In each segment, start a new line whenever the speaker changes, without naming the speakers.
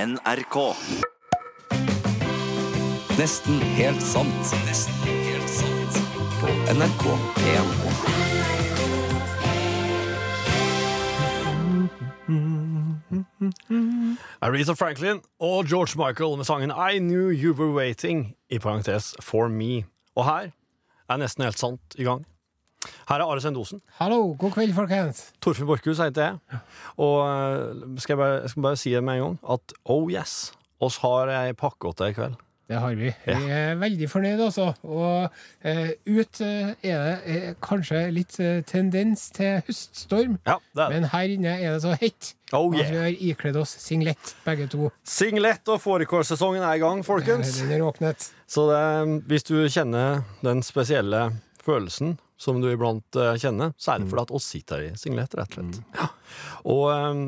NRK.
Nesten helt sant. Nesten helt sant. På NRK P1.
Aretha Franklin og George Michael med sangen I Knew You Were Waiting, i parentes For Me. Og her er nesten helt sant i gang. Her er Are Sendosen.
Hallo, god kveld, folkens.
Torfinn Borchhus heter jeg. Og eh, skal jeg, bare, jeg skal bare si det med en gang at oh yes, oss har ei pakke til i kveld.
Det har vi. Vi er veldig fornøyd, altså. Og eh, ut eh, er det eh, kanskje litt eh, tendens til høststorm,
Ja, det er det.
men her inne er det så hett
Oh
at vi
yeah.
har ikledd oss singlet, begge to.
Singlet og fårikålsesongen er i gang, folkens.
Den er åpnet.
Så det, hvis du kjenner den spesielle følelsen som du iblant eh, kjenner, så er det fordi at oss sitter i singlet, rett og slett. Ja. Og eh,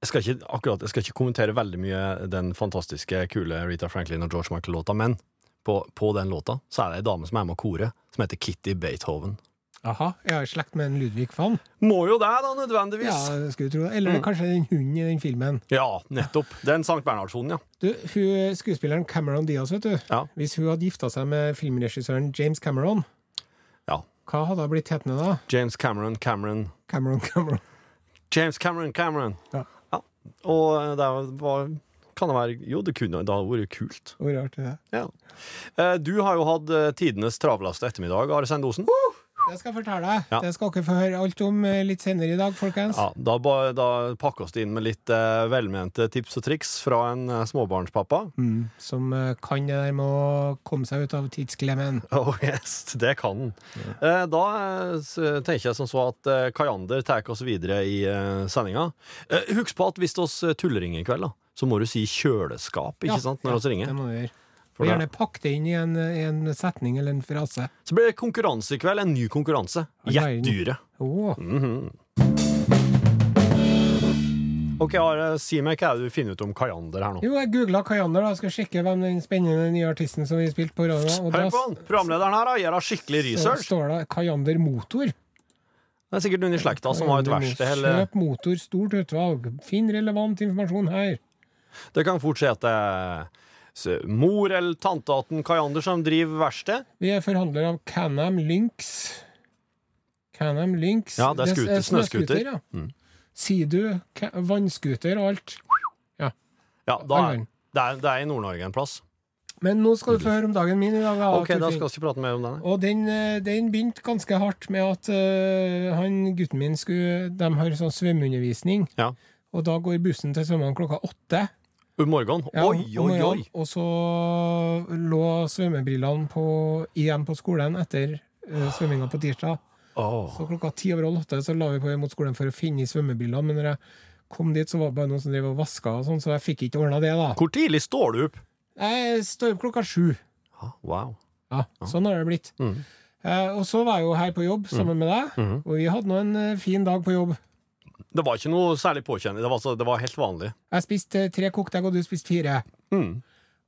jeg skal, ikke, akkurat, jeg skal ikke kommentere veldig mye den fantastiske, kule Rita Franklin og George Michael-låta, men på, på den låta så er det ei dame som er med å kore, som heter Kitty Beethoven.
Aha, jeg har slekt med en Ludvig Fann.
Må jo det, da,
Ja,
nødvendigvis!
det skulle du tro. Eller
Mm.
kanskje den hunden i den filmen.
Ja, nettopp. Den Sankt Bernhardsonen, ja.
Du, hun, skuespilleren Cameron Diaz, vet du.
Ja.
Hvis hun hadde gifta seg med filmregissøren James Cameron,
ja.
hva hadde hun blitt hetende da?
James Cameron, Cameron
Cameron Cameron.
James Cameron Cameron.
Ja.
Og eh, det var Kan det være Jo, det kunne det hadde vært kult.
Hvor rart er det?
Ja. Eh, Du har jo hatt eh, tidenes travleste ettermiddag, Are Sendosen.
Det skal jeg fortelle deg.
Ja.
Det skal dere få høre alt om eh, litt senere i dag, folkens.
Ja, da, ba- da pakka oss det inn med litt eh, velmente tips og triks fra en eh, småbarnspappa.
Mm, som eh, kan det der med å komme seg ut av tidsklemmen.
Oh yes, det kan han. Eh, Da eh, s- tenker jeg som så at eh, Kajander tar oss videre i eh, sendinga. Eh, Husk på at hvis oss eh, tullringer i kveld, da, så må du si kjøleskap, ikke
Ja,
sant, når
ja,
oss ringer.
Det må du gjøre.
For det-
Og gjerne pakk det inn i en, i en setning eller en frase.
Så blir det konkurranse i kveld. En ny konkurranse.
All
Gjett
verden.
dyret.
Åh,
Mm. Ok, Are, si meg hva er det du finner ut om Kajander her nå.
Jo, jeg googla Kajander, da. Skal sjekke hvem den spennende nye artisten som vi spilte på radioen. var, og
Hør
da
på han! Programlederen her da, gjør da skikkelig
s-
research.
står det Kajander Motor.
Det er sikkert noen i slekta som har et
Kajander
verksted.
Motor.
eller-
Kjøp motor, stort utvalg. Finn relevant informasjon her.
Det kan fort skje at det er s- mor eller tanteatten Kajander som driver verksted.
Vi er forhandler av Canam Lynx. Canam Lynx.
Ja, det er Mm. skuter- snøskuter.
eh, Ja. Sidu, ca- vannskuter og alt.
Ja, da er,
All
det, er, det er i Nord-Norge en plass.
Men nå skal du få høre om dagen min i dag. da,
Ok, da
Torfinn.
skal vi ikke prate mer om den. her.
Og den, eh, den begynte ganske hardt med at eh, han, gutten min skulle, de har sånn svømmeundervisning.
Ja.
Og da går bussen til svømmene klokka åtte.
Om morgenen.
Ja,
Oi,
om
oi,
morgenen.
oi!
Og så lå svømmebrillene på, igjen på skolen etter uh, svømminga på tirsdag.
Åh.
Så klokka ti over halv åtte så la vi på vei mot skolen for å finne svømmebrillene. Men når jeg kom dit, så var det bare noen som drev og vaska, og sånn, så jeg fikk ikke ordna det. da.
Hvor tidlig står du opp?
Jeg står opp klokka sju.
Ah, Wow.
Ja, Sånn har det blitt.
Mhm.
Eh, og så var jeg jo her på jobb sammen med deg,
Mhm.
og vi hadde nå en eh, fin dag på jobb.
Det var ikke noe særlig påkjenning. Det var, så- det var helt vanlig.
Jeg spiste eh, tre kokte egg, og du spiste fire.
Mm.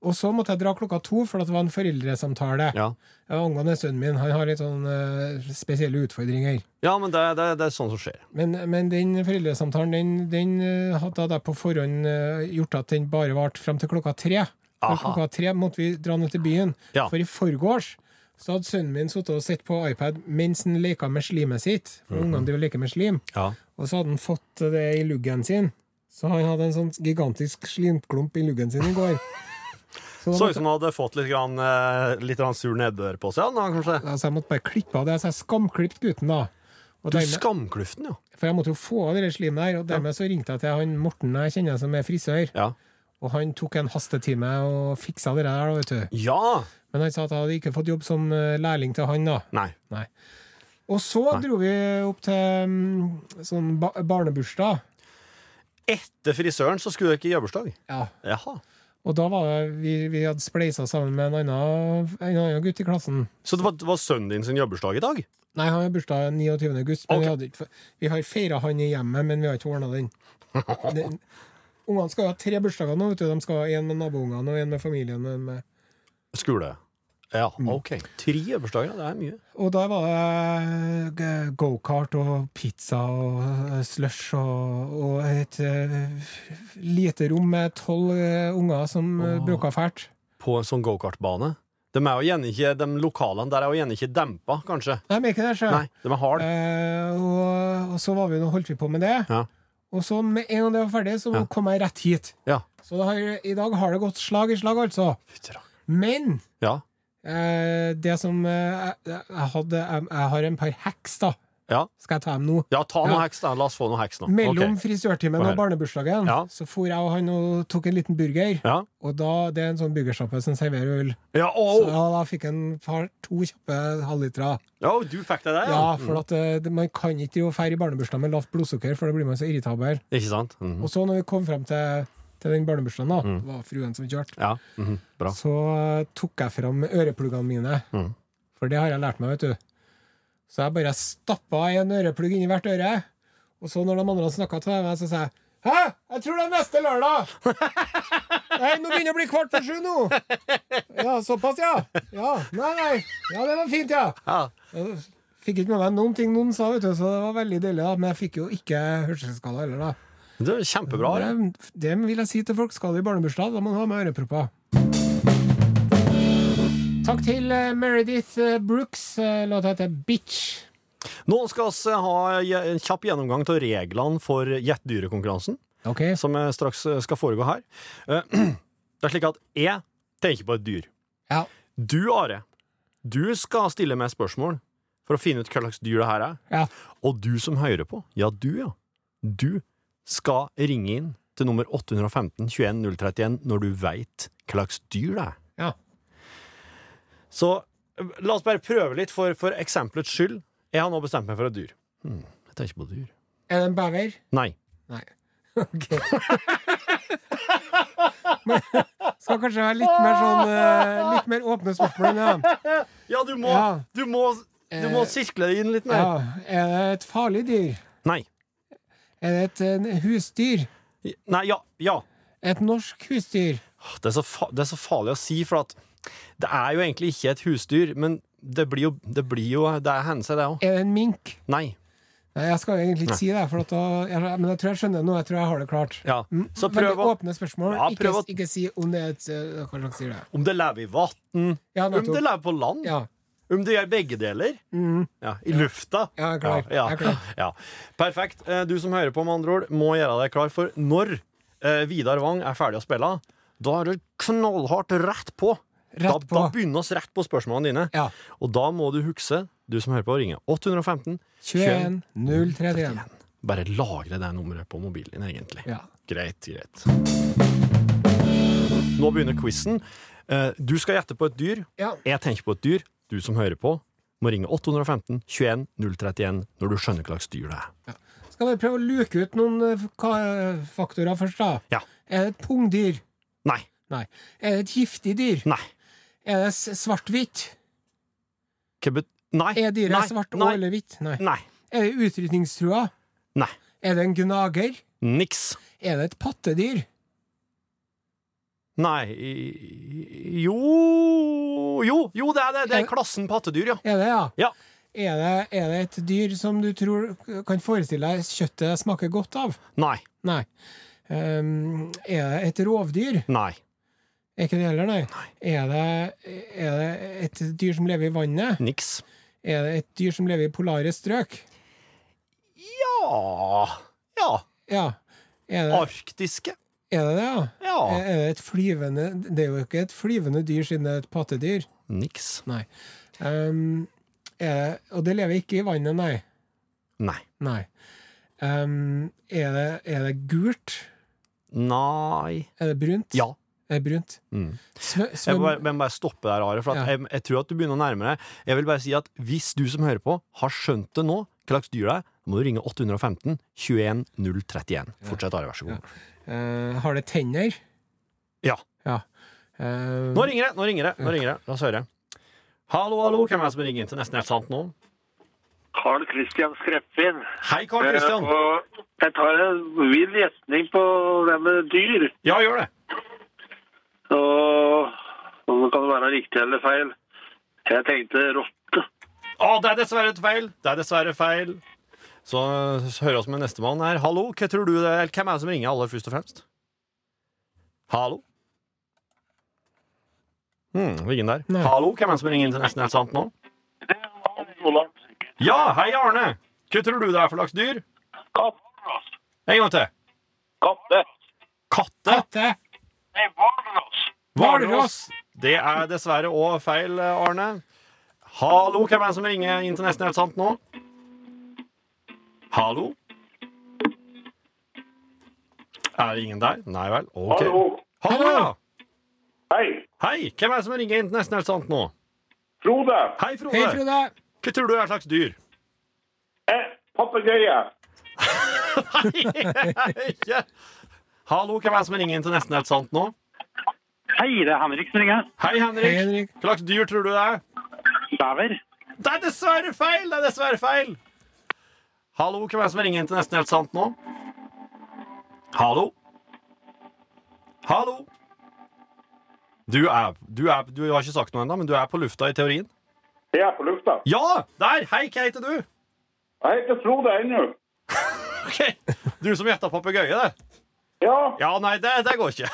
Og så måtte jeg dra klokka to, for at det var en foreldresamtale
Ja.
eh, angående sønnen min. Han har litt sånn eh, spesielle utfordringer.
ja, men det, det, det er sånn som skjer.
Men, men den foreldresamtalen den, den eh, hadde jeg da på forhånd eh, gjort at den bare varte fram til klokka tre. For
Aha.
klokka tre måtte vi dra ned til byen.
Ja.
For i forgårs så hadde sønnen min sittet og sett på iPad mens han leka med slimet sitt. For
Mhm.
ungene driver og leker med slim.
Ja.
Og så hadde han fått eh, det i luggen sin. Så han hadde en sånn gigantisk slimklump i luggen sin i går. Så, da
Så ut
måtte,
som han hadde fått litt, grann, eh, litt grann sur nedbør på seg. han da, kanskje.
altså, jeg måtte bare klippe av det. Så jeg skamklippet gutten, da. Og
Du
dermed-
skamkluften, ja.
For jeg måtte jo få av det der slimet der, og dermed så ringte jeg til han Morten jeg kjenner som er frisør,
Ja,
og han tok en hastetime og fiksa det der, da, vet du.
ja.
Men han sa at jeg hadde ikke fått jobb som eh, lærling til han, da.
Nei.
Nei. Og så dro vi opp til mm, sånn ba barnebursdag.
Etter frisøren så skulle dere ikke i jobbursdag.
Ja.
Jaha.
Og da var det, vi, vi hadde spleisa sammen med en annen, en annen gutt i klassen.
Så det var, det var sønnen din sin jobbursdag i dag?
Nei, han har bursdag 29. august, men
Ok.
vi, hadde ikke, vi har feira han i hjemmet, men vi har ikke ordna den. Den- Ungene skal jo ha tre bursdager nå, vet du. De skal ha en med naboungene og en med familien. og en med
Skole. Ja, ok. Tre bursdager, ja, det er mye.
Og da var det g- gokart og pizza og eh, slush og, og et eh, lite rom med tolv eh, unger som eh,
Åh.
bråka fælt.
På en sånn gokartbane. De, er jo gjerne ikke- de lokalene der er jo gjerne ikke dempa, kanskje.
Nei, men ikke det, sjø.
Nei, de er hard.
Eh, og, og så var vi, nå holdt vi på med det.
Ja.
Og så med en gang det var ferdig, så
Ja.
kom jeg rett hit.
Ja.
Så det har, i dag har det gått slag i slag, altså.
Fytti rakkeren.
Men
Ja.
eh, det som eh, jeg, jeg hadde jeg, jeg har en par hacks, da.
Ja.
Skal jeg ta dem nå?
ja, ta noe
Ja.
heks, da. La oss få noe heks nå.
Mellom
Ok.
frisørtimen
Få
og
høre.
barnebursdagen
Ja.
så for jeg og han og tok en liten burger.
Ja.
Og da, Det er en sånn burgersjappe som serverer øl.
Ja,
Så
å,
ja, da fikk jeg en par, to kjappe halvlitere.
å, du fikk deg det? Mm.
Ja, for at eh, det- Man kan ikke drive og feire i barnebursdag med lavt blodsukker, for da blir man så irritabel.
Ikke sant? Mhm.
Og så når vi kom frem til, til den barnebursdagen, da,
Mm.
det var fruen som kjørte,
Ja. mhm. Bra.
så eh, tok jeg fram ørepluggene mine.
Mhm.
For det har jeg lært meg, vet du. Så jeg bare stappa en øreplugg inni hvert øre. Og så når de andre snakka til meg, så sa jeg Hæ? Jeg tror det er neste lørdag! Nei, nå begynner det å bli kvart på sju nå! Ja, såpass, ja. Ja, Nei, nei. Ja, det var fint, ja.
Ja.
Jeg Fikk ikke med meg noen ting noen sa, vet du, så det var veldig deilig. da Men jeg fikk jo ikke hørselsskade heller, da.
Det er kjempebra. det.
Det, det vil jeg si til folk. Skal du i barnebursdag, da må du ha med ørepropper. Takk til eh, Meredith eh, Brooks. eh, Låta heter Bitch.
Nå skal vi ha je- en kjapp gjennomgang av reglene for gjettdyrekonkurransen,
Ok,
som eh, straks eh, skal foregå her. Eh, Det er slik at jeg tenker på et dyr.
Ja.
Du, Are, du skal stille meg spørsmål for å finne ut hva slags dyr det her er.
Ja.
Og du som hører på, ja, du, ja. Du skal ringe inn til nummer 815 21 031 når du veit hva slags dyr det er.
Ja.
Så eh, la oss bare prøve litt for, for eksempelets skyld. Jeg har nå bestemt meg for et dyr. Hmm, jeg tenker på dyr.
Er det en bever?
Nei.
Nei. Ok. Men, skal kanskje være litt mer sånn eh, Litt mer åpne spørsmål. Ja.
Ja, du må,
Ja.
Du må, du må
Eh,
sirkle det inn litt
ja.
mer.
Er det et farlig dyr?
Nei.
Er det et eh, husdyr?
Nei, ja. ja.
Et norsk husdyr?
Det er, så fa det er så farlig å si, for at det er jo egentlig ikke et husdyr, men det blir jo Det, blir jo, det er hender seg, det òg.
Er det en mink?
Nei.
Nei, jeg skal jo egentlig ikke si det, for at da, jeg, men jeg tror jeg skjønner nå. Jeg tror jeg har det klart.
Ja.
Mm,
Så
Veldig
prøv å
åpne spørsmål.
Ja,
ikke,
prøv å-
ikke si om det er et eh, Hva slags dyr det er.
Om det lever i vann,
Ja,
om det
nettopp.
lever på land,
Ja.
om det gjør Um, begge deler.
Mm.
Ja, I lufta.
Ja, jeg er klar.
Ja,
Jeg er
ja,
klar.
ja. Perfekt. Eh, Du som hører på, med andre ord, må gjøre deg klar, for når eh, Vidar Wang er ferdig å spille, da er det knallhardt rett på.
Rett
Da,
på.
da begynner oss rett på spørsmålene dine.
Ja.
Og da må du huske, du som hører på, å ringe 815.
21 031.
Bare lagre det nummeret på mobilen din, egentlig.
Ja.
Greit, greit. Nå begynner quizen. Eh, Du skal gjette på et dyr.
Ja.
Jeg tenker på et dyr. Du som hører på, må ringe 815 21 031 når du skjønner hva slags dyr det er.
Skal vi prøve å luke ut noen eh, ka- faktorer først, da?
Ja.
Er det et pungdyr?
Nei.
Nei. Er det et giftig dyr?
Nei.
Er det s- svart-hvitt?
Hva bet... Nei.
Er dyret
Nei.
svart og
Nei.
eller hvitt? Nei.
Nei.
Er det utrydningstrua?
Nei.
Er det en gnager?
Niks.
Er det et pattedyr?
Nei i- Jo Jo, jo det er det! Det er klassen pattedyr, ja.
Er det, ja?
Ja.
Er det, er det et dyr som du tror kan forestille deg kjøttet smaker godt av?
Nei.
Nei. Ehm, er det et rovdyr?
Nei.
Er ikke det heller, nei. Er, det, er det et dyr som lever i vannet?
Niks.
Er det et dyr som lever i polare strøk?
Ja Ja.
Ja.
Ah.
Er det
Arktiske.
er det, det, ja?
Ja.
Er er det et flyvende Det er jo ikke et flyvende dyr siden det er et pattedyr.
Niks.
Nei. Ehm, er det, og det lever ikke i vannet, nei.
Nei.
Nei. Ehm, er, det, er det gult?
Nei
Er det brunt?
Ja.
Er det brunt?
Mm.
Svø,
Jeg
svøm,
må bare, men bare stoppe der, Are. For at
Ja.
jeg, jeg tror at du begynner å nærme deg. Jeg vil bare si at Hvis du som hører på, har skjønt det nå, hva slags dyr det er, må du ringe 815 21 031. Fortsett, Are. Vær så god.
Eh, har det tenner?
Ja.
Ja. Ehm,
Nå ringer det! Nå ringer det! nå ringer det La oss høre. Hallo, hallo. Hvem er det som ringer inn til Nesten helt sant nå?
Carl Christian Skreppin.
Hei, Karl Kristian.
Eh, og jeg tar en vill gjetning på det med dyr.
Ja, gjør det.
Så om det kan være riktig eller feil. Jeg tenkte rotte.
Å, det er dessverre et feil! Det er dessverre feil. Så eh, hører vi med nestemann her. Hallo, hva tror du det er? Hvem er det som ringer aller først og fremst? Hallo? Hmm, det var ingen der.
Nei.
Hallo, hvem er det som ringer inn til Nesten helt sant nå?
Olav.
Ja, hei, Arne! Hva tror du det er for slags dyr?
Kattras.
En gang til.
Katte.
Katte.
Katte.
Nei, hvalras.
Hvalross. Det er dessverre òg feil, eh, Arne. Hallo, hvem er det som ringer inn til Nesten helt sant nå? Hallo? Er det ingen der? Nei vel. OK. Hallo, ja.
Hei.
Hei, hvem er det som ringer inn til Nesten helt sant nå?
Frode.
Hei, Frode.
Hei, Frode.
Hva tror du er et slags dyr?
Papegøye.
Ikke. Hallo, hvem er det som ringer inn til Nesten helt sant nå?
Hei, det er Henrik som ringer.
Hei, Henrik.
Hei, Henrik.
Hva slags dyr tror du det er?
Bever.
Det er dessverre feil! Det er dessverre feil! Hallo, hvem er det som ringer inn til Nesten helt sant nå? Hallo? Hallo? Du er, du er Du har ikke sagt noe ennå, men du er på lufta i teorien?
Jeg er på lufta.
Ja! Der! Hei, hva heter du?
Jeg heter Frode ennå.
Ok, Du som gjetta papegøye, det.
Ja.
Ja, nei, det, det går ikke.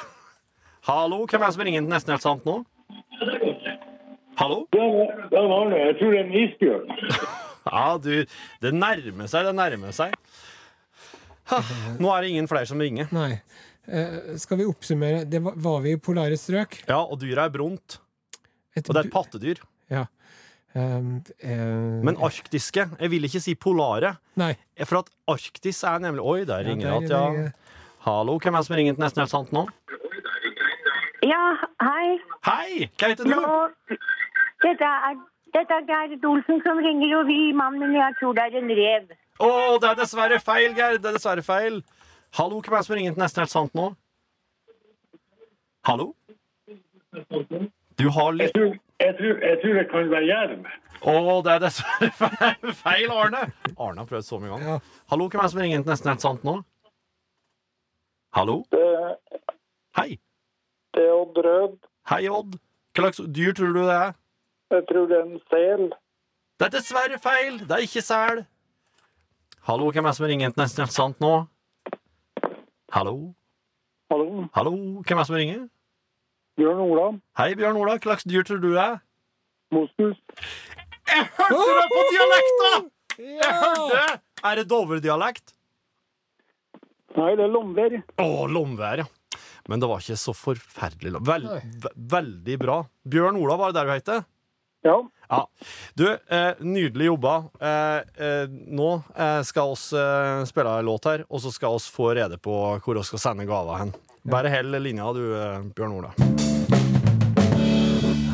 Hallo, hvem er det som ringer inn til Nesten helt sant nå? Hallo?
Det var det. Jeg tror det er en isbjørn.
Ja, du Det nærmer seg, det nærmer seg. Ha, Nå er det ingen flere som ringer.
Nei. Eh, skal vi oppsummere? Det var, var vi i polare strøk?
Ja, og dyra er brunt.
Et
Og det er et
bu-
pattedyr.
Ja. Um, eh,
Men arktiske Jeg vil ikke si polare.
Nei.
For at Arktis er nemlig Oi, der ringer
der
det
ringer
igjen.
det. eh,
Hallo, hvem er det som ringer til Nesten helt sant nå?
Ja, hei.
Hei! Hva heter du?
Nå, dette er, dette er Gerd Olsen som ringer, og vi, mannen min, jeg tror det er en rev.
Å, det er dessverre feil, Gerd. Det er dessverre feil. Hallo, hvem er det som ringer til Nesten helt sant nå? Hallo? Du har litt
tror, det kan være jerv.
Å, det er dessverre fe- feil, Arne. Arne har prøvd så mye
Ja.
ganger. Hallo, hvem er det som ringer inn til Nesten helt sant nå? Hallo?
Eh,
Hei.
Det er Odd Rød.
Hei, Odd. Hva slags dyr tror du det er?
Jeg tror det er en sel.
Det er dessverre feil. Det er ikke sel. Hallo, hvem er det som ringer inn til Nesten helt sant nå? Hallo?
Hallo.
Hallo, hvem er det som ringer?
Bjørn Ola.
Hei, Bjørn Ola. Hva slags dyr tror du det er?
Moskus.
Jeg hørte det på dialekta! Jeg hørte
Ja!
det! Er det Dovre-dialekt?
Nei, det er lomver.
Å, lomvær, ja. Men det var ikke så forferdelig lom. Vel,
Nei.
ve veldig bra. Bjørn Olav, var det der du heter?
Ja.
Ja. Du, eh, nydelig jobba. Eh, eh, nå eh, skal oss eh, spille en låt her, og så skal oss få rede på hvor vi skal sende gava hen. Bare hell linja, du, eh, Bjørn Olav.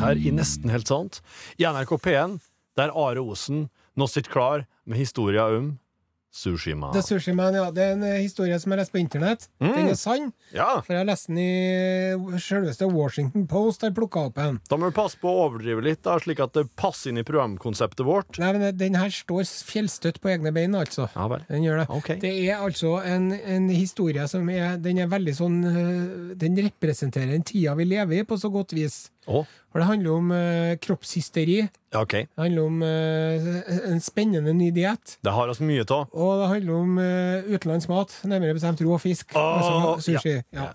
Her i Nesten helt sant, i NRK P1, der Are Osen nå sitter klar med historia om Sushima.
The Sushi Man, ja. Det er en eh, historie som jeg leste på internett.
Mm.
Den er sann,
Ja,
for jeg leste den i selveste Washington Post. Har plukka opp en.
Da må vi passe på å overdrive litt, da, slik at det passer inn i programkonseptet vårt.
Nei, men den her står fjellstøtt på egne bein, altså.
Ja vel.
Den gjør det.
Ok.
Det er altså en, en historie som er Den er veldig sånn øh, Den representerer den tida vi lever i, på så godt vis.
Å,
For det handler om øh, kroppshysteri. Det
ja, ok.
handler om øh, en spennende ny diett.
Det har oss mye av.
Og det handler om uh, utenlandsk mat, nærmere bestemt rå fisk.
Åh,
altså sushi. Ja.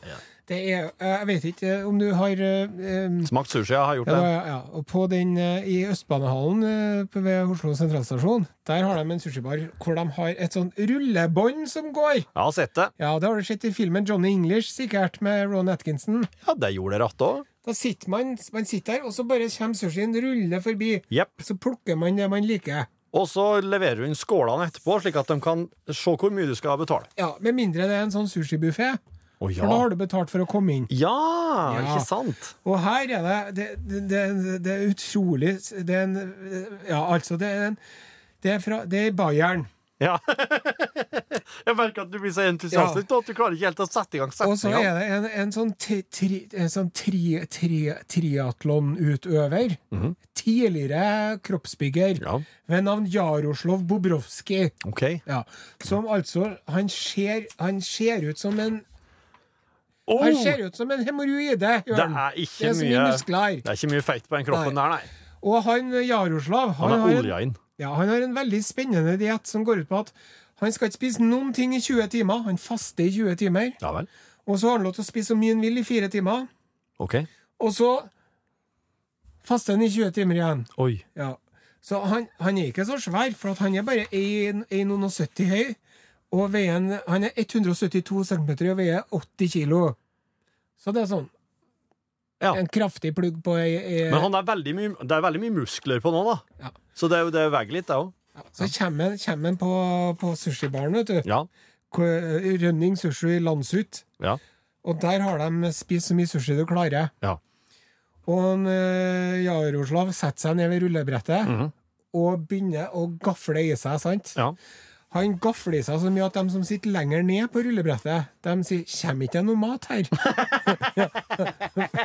Det er, jeg vet ikke øh, om du har øh, øh,
Smakt sushi, jeg har gjort
ja, da,
det.
ja. Og på den eh, i Østbanehallen eh, på- ved Oslo sentralstasjon, der har de en sushibar hvor de har et sånn rullebånd som går.
Jeg har sett det.
Ja, det har du sett i filmen Johnny English, sikkert, med Ron Atkinson.
Ja, det gjorde dere att òg.
Da sitter man, man sitter der, og så bare kommer sushien rullende forbi.
Jepp.
Så plukker man det man liker.
Og så leverer du inn skålene etterpå, slik at de kan se hvor mye du skal betale.
Ja, Med mindre det er en sånn sushibuffé,
Å
for da har du betalt for å komme inn.
ja!
Ja.
Ikke sant?
Og her er det Det, det, det, det er utrolig Det er en Ja, altså, det er en Det er, fra, det er i Bayern.
Ja. jeg merker at du blir så entusiastisk nå at du klarer ikke helt å sette i gang
Og så
setninga.
er det en, en sånn, tri, tri, en sånn tri, tri, triatlonutøver. Tidligere kroppsbygger
Mhm. Ja.
ved navn Jaroslov Bobrovskij.
OK.
Ja, som
Mm.
altså Han ser, han ser ut som en
Oh,
Han ser ut som en hemoroide,
det
Jørn.
er
Det
ikke
er så mye
mye
muskler.
Det er ikke mye feit på den kroppen der,
Nei.
nei.
Og han eh, Jaroslav
Han er
har en-
olja inn.
ja, han har en veldig spennende diett som går ut på at han skal ikke spise noen ting i 20 timer. Han faster i 20 timer.
Ja vel.
Og så har han lov til å spise så mye han vil i fire timer.
Ok.
Og så faster han i 20 timer igjen.
Oi.
Ja. Så han, han er ikke så svær, for at han er bare 1,70 høy. Og veier, en- han er 172 cm og veier 80 kg. Så det er sånn.
Ja.
En kraftig plugg på ei, ei
Men han er veldig mye, det er veldig mye muskler på nå, da.
Ja.
Så det, er jo- det veier litt, det òg.
Så kommer kommer han på, på sushibaren, vet du.
Ja.
Hvor- Rønning sushi Landsut.
Ja.
Og der har de spist så mye sushi du klarer.
Ja.
Og en, eh, Jaroslav setter seg ned ved rullebrettet og begynner å gafle i seg. sant?
Mhm. Ja.
Han gafler i seg så mye at de som sitter lenger ned på rullebrettet, de sier 'Kjem ikke det noe mat her?'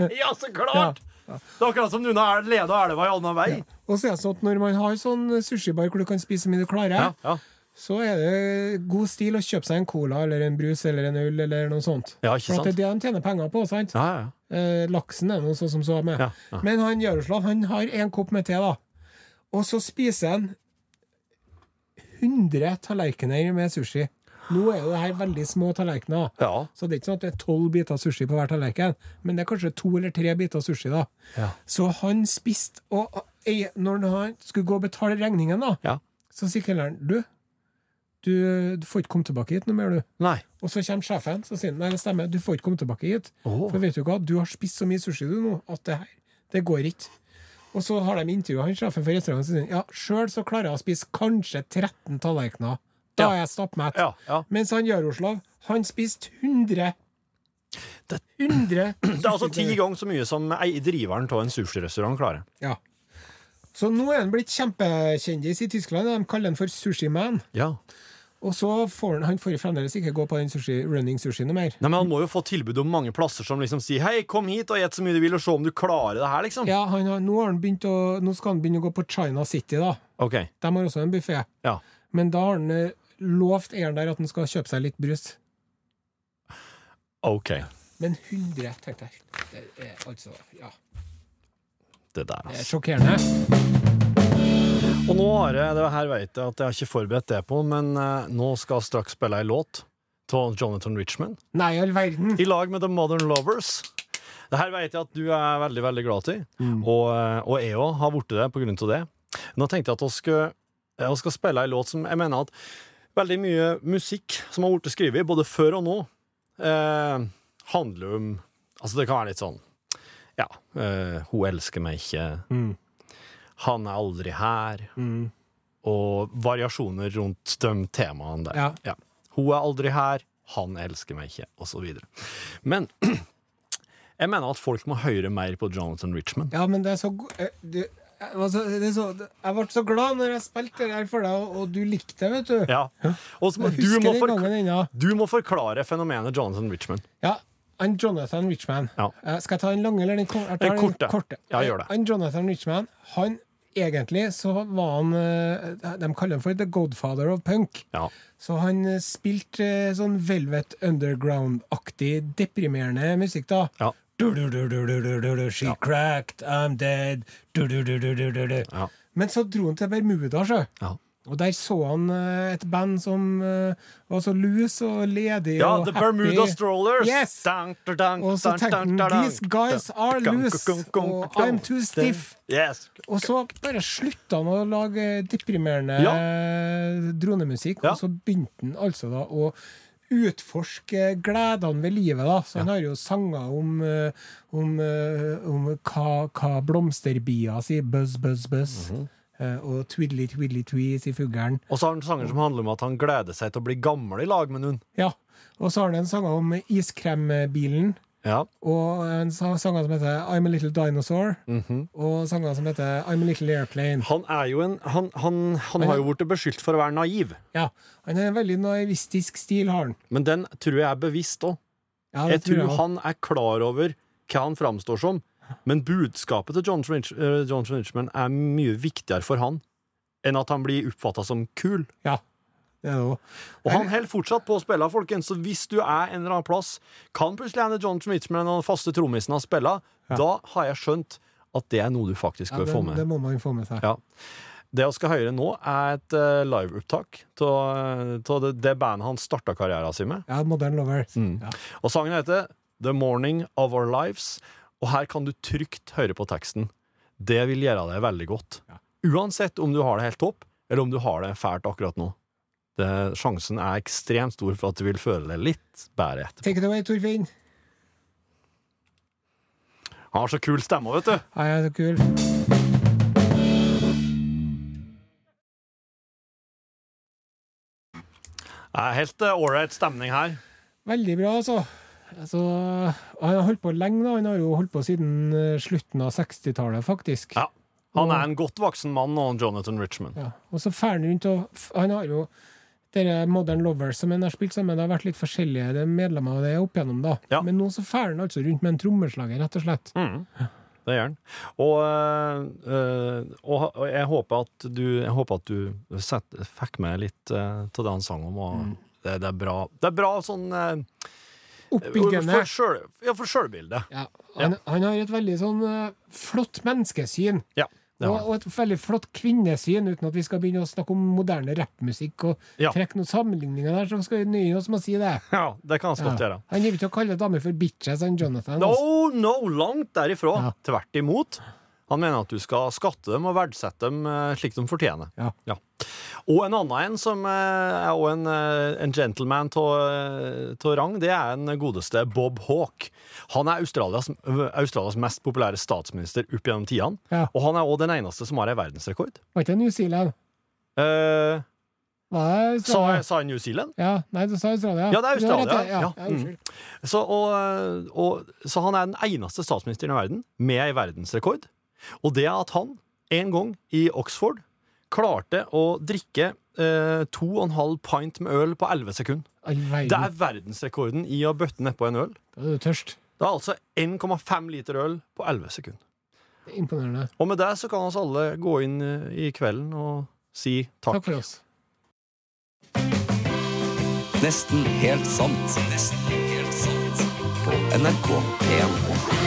ja, så klart! Det er akkurat som Nuna er lede og elva i annen vei.
Og så er det sånn at når man har sånn sushibar hvor du kan spise så mye du klarer,
Ja. Ja.
så er det god stil å kjøpe seg en cola eller en brus eller en øl eller noe sånt.
Ja, ikke
For at det
sant?
er det de tjener penger på, sant?
Ja, ja.
Eh, laksen er noe så som så med.
Ja, ja.
Men han Jaroslav han har en kopp med te, da. Og så spiser han 100 tallerkener med sushi. Nå er jo det her veldig små tallerkener.
ja.
Så det er ikke sånn at det er tolv biter sushi på hver tallerken, men det er kanskje to eller tre biter sushi. da.
Ja.
Så han spiste, og ei- når han skulle gå og betale regningen, da,
Ja.
så sier kelneren du, du, du får ikke komme tilbake hit noe mer, du.
Nei.
Og så kommer sjefen så sier han, nei, det stemmer, du får ikke komme tilbake hit.
Åh.
For vet du hva, du har spist så mye sushi du nå, at det her, det går ikke. Og så har de intervjua han sjefen for restauranten og sier han, ja, sjøl så klarer jeg å spise kanskje 13 tallerkener. Da
Ja.
er jeg stappmett.
Ja, ja.
Mens han Jaroslav, han spiste 100
Det-
100
Det er altså ti ganger så mye som ei- driveren av en sushirestaurant klarer.
Ja. Så nå er han blitt kjempekjendis i Tyskland. De kaller han for Sushiman.
Ja.
Og så får han, han får jo fremdeles ikke gå på den sushi, running sushi noe mer.
Nei, men Han må jo få tilbud om mange plasser som liksom sier 'hei, kom hit og et så mye du vil, og se om du klarer det her', liksom.
Ja, han har, nå, har han begynt å, nå skal han begynne å gå på China City, da.
Ok,
De har også en buffé.
ja.
Men da har han eh, lovt eieren der at han skal kjøpe seg litt brus.
Ok.
Men 100, tenkte jeg. Det er altså Ja.
Det der,
Det er
altså.
sjokkerende.
Og nå har jeg, det her vet jeg at jeg har ikke forberedt det på, men eh, nå skal jeg straks spille ei låt av Jonathan Richman
Nei, all verden.
i lag med The Modern Lovers. Det her vet jeg at du er veldig veldig glad til, og, eh, og jeg òg har blitt det på grunn av det. Nå tenkte jeg at vi skal, jeg skal spille ei låt som jeg mener at veldig mye musikk som har blitt skrevet, både før og nå, eh, handler om Altså, det kan være litt sånn Ja, eh, hun elsker meg ikke.
Mm.
Han er aldri her. Og variasjoner rundt de temaene der.
Ja.
Hun er aldri her, han elsker meg ikke, osv. Men jeg mener at folk må høre mer på Jonathan Richman.
Ja, men det er så go- eh, du, jeg, var så, det er så, jeg ble så glad når jeg spilte det her for deg, og, og du likte det, vet du.
Ja. Og så må,
Jeg
du,
husker
må
den
fork-
gangen ennå.
du må forklare fenomenet Jonathan Richman.
Ja, han Jonathan Richman.
Ja.
Eh, Skal jeg ta den lange eller den, kor jeg tar
Den korte. Ja, gjør det.
Han Jonathan Richman, han egentlig så var han eh, De kaller han for The Godfather of Punk.
Ja.
Så han eh, spilte eh, sånn Velvet Underground-aktig deprimerende musikk, da.
Ja.
Du-du-du-du-du-du-du, She cracked, I'm dead Du-du-du-du-du-du-du.
Ja.
Men så dro han til Bermuda, sjø.
Ja.
Og der så han eh, et band som eh, var så lus og ledig
Ja,
og
The
happy.
Bermuda Strollers!
Yes!
Dang, da, dang,
Og så
dang,
tenkte
dang,
han
da, dang.
These guys are
Dang,
loose
gong, gong,
Og
gong.
I'm too stiff
Yes.
Og så bare slutta han å lage deprimerende
Ja.
eh, dronemusikk
Ja.
Og så begynte han altså da å utforske gledene ved livet da Så han har jo sanger om, eh, om, eh, om hva, hva blomsterbia sier Buzz, buzz, buzz
Mhm.
Eh, Og twiddly, twiddly, twee sier fuglen
Og så har han sanger som handler om at han gleder seg til å bli gammel i lag med noen.
Ja, og så har han en sang om iskrembilen
Ja.
Og en sa- sanger som heter I'm a Little Dinosaur.
Mhm.
Og sanger som heter I'm a Little Airplane.
Han er jo en Han, han, han har jo blitt beskyldt for å være naiv,
Ja, Han har en veldig naivistisk stil, har han.
men den tror jeg er bevisst òg.
Ja,
Jeg
det
tror
også.
han er klar over hva han framstår som, men budskapet til John Frinch, eh, John Frinchman er mye viktigere for han enn at han blir oppfatta som kul.
Ja, det er det også.
Og han holder fortsatt på å spille, folkens, så hvis du er en eller annen plass, kan plutselig hende John Frinchman og den faste trommisen har spilla, da har jeg skjønt at det er noe du faktisk
Ja,
bør
det,
få med.
det må man få med seg.
Ja. Det vi skal høre nå, er et eh, liveopptak av det, det bandet han starta karrieren sin med.
Ja, Modern Lover.
Mm.
Ja.
Og sangen heter The Morning of Our Lives, og her kan du trygt høre på teksten. Det vil gjøre deg veldig godt. Uansett om du har det helt topp, eller om du har det fælt akkurat nå. Det, sjansen er ekstremt stor for at du vil føle deg litt bedre etterpå.
Take it away, Torfinn.
Han har så kul stemme, vet du!
Ja, ja, så kul.
Det er helt eh, ålreit stemning her.
Veldig bra, altså. altså. Han har holdt på lenge, da. Han har jo holdt på siden eh, slutten av 60-tallet, faktisk.
Ja. Han er en godt voksen mann, og Jonathan Richmond.
Ja, Og så fer han rundt og f- Han har jo dere Modern Lovers som han har spilt sammen, det har vært litt forskjellige det er medlemmer av det opp igjennom, da.
Ja. Mm.
Men nå så fer han altså rundt med en trommeslager, rett og slett.
Det gjør han. Og, øh, og, og jeg håper at du, jeg håper at du sett, fikk med litt øh, til det han sang om. Og det, det er bra Det er bra sånn øh,
Oppbyggende.
For, sjøl, ja, for sjølbildet.
Ja, han, han har et veldig sånn eh, flott menneskesyn.
Ja. Det
Og,
har. han.
og et veldig flott kvinnesyn, uten at vi skal begynne å snakke om moderne rappmusikk og
Ja.
trekke noen sammenligninger der, så skal vi nøye oss med å si det.
ja, det kan vi godt
Ja.
gjøre.
Han driver ikke og kaller damer for bitches, han Jonathan.
No,
altså.
no, langt derifra.
Ja.
Tvert imot. Han mener at du skal skatte dem og verdsette dem eh, slik de fortjener.
Ja.
Og en annen en som eh, er også en, eh, en gentleman av rang, det er en godeste Bob Hawke. Han er Australias, ø, Australias mest populære statsminister opp gjennom tidene.
Ja.
Og han er òg den eneste som har en verdensrekord.
Var ikke det New Zealand?
Eh,
Hva er
sa,
Australia?
sa jeg New Zealand?
Ja, nei, du sa Australia.
Ja, det er
Du har rett,
Australia,
Ja,
ja.
ja, unnskyld.
Så, og, og, så han er den eneste statsministeren i verden med ei verdensrekord. Og det er at han en gang i Oxford klarte å drikke eh, to og en halv pint med øl på 11 sekunder.
All
Mm. Det
verden,
er verdensrekorden i å bøtte nedpå en øl.
da er du tørst.
Det er altså 1,5 liter øl på 11 sekunder.
Det er Imponerende.
Og med det så kan oss alle gå inn eh, i kvelden og si takk.
Takk for oss.
Nesten helt sant. Nesten helt sant. På NRK P1.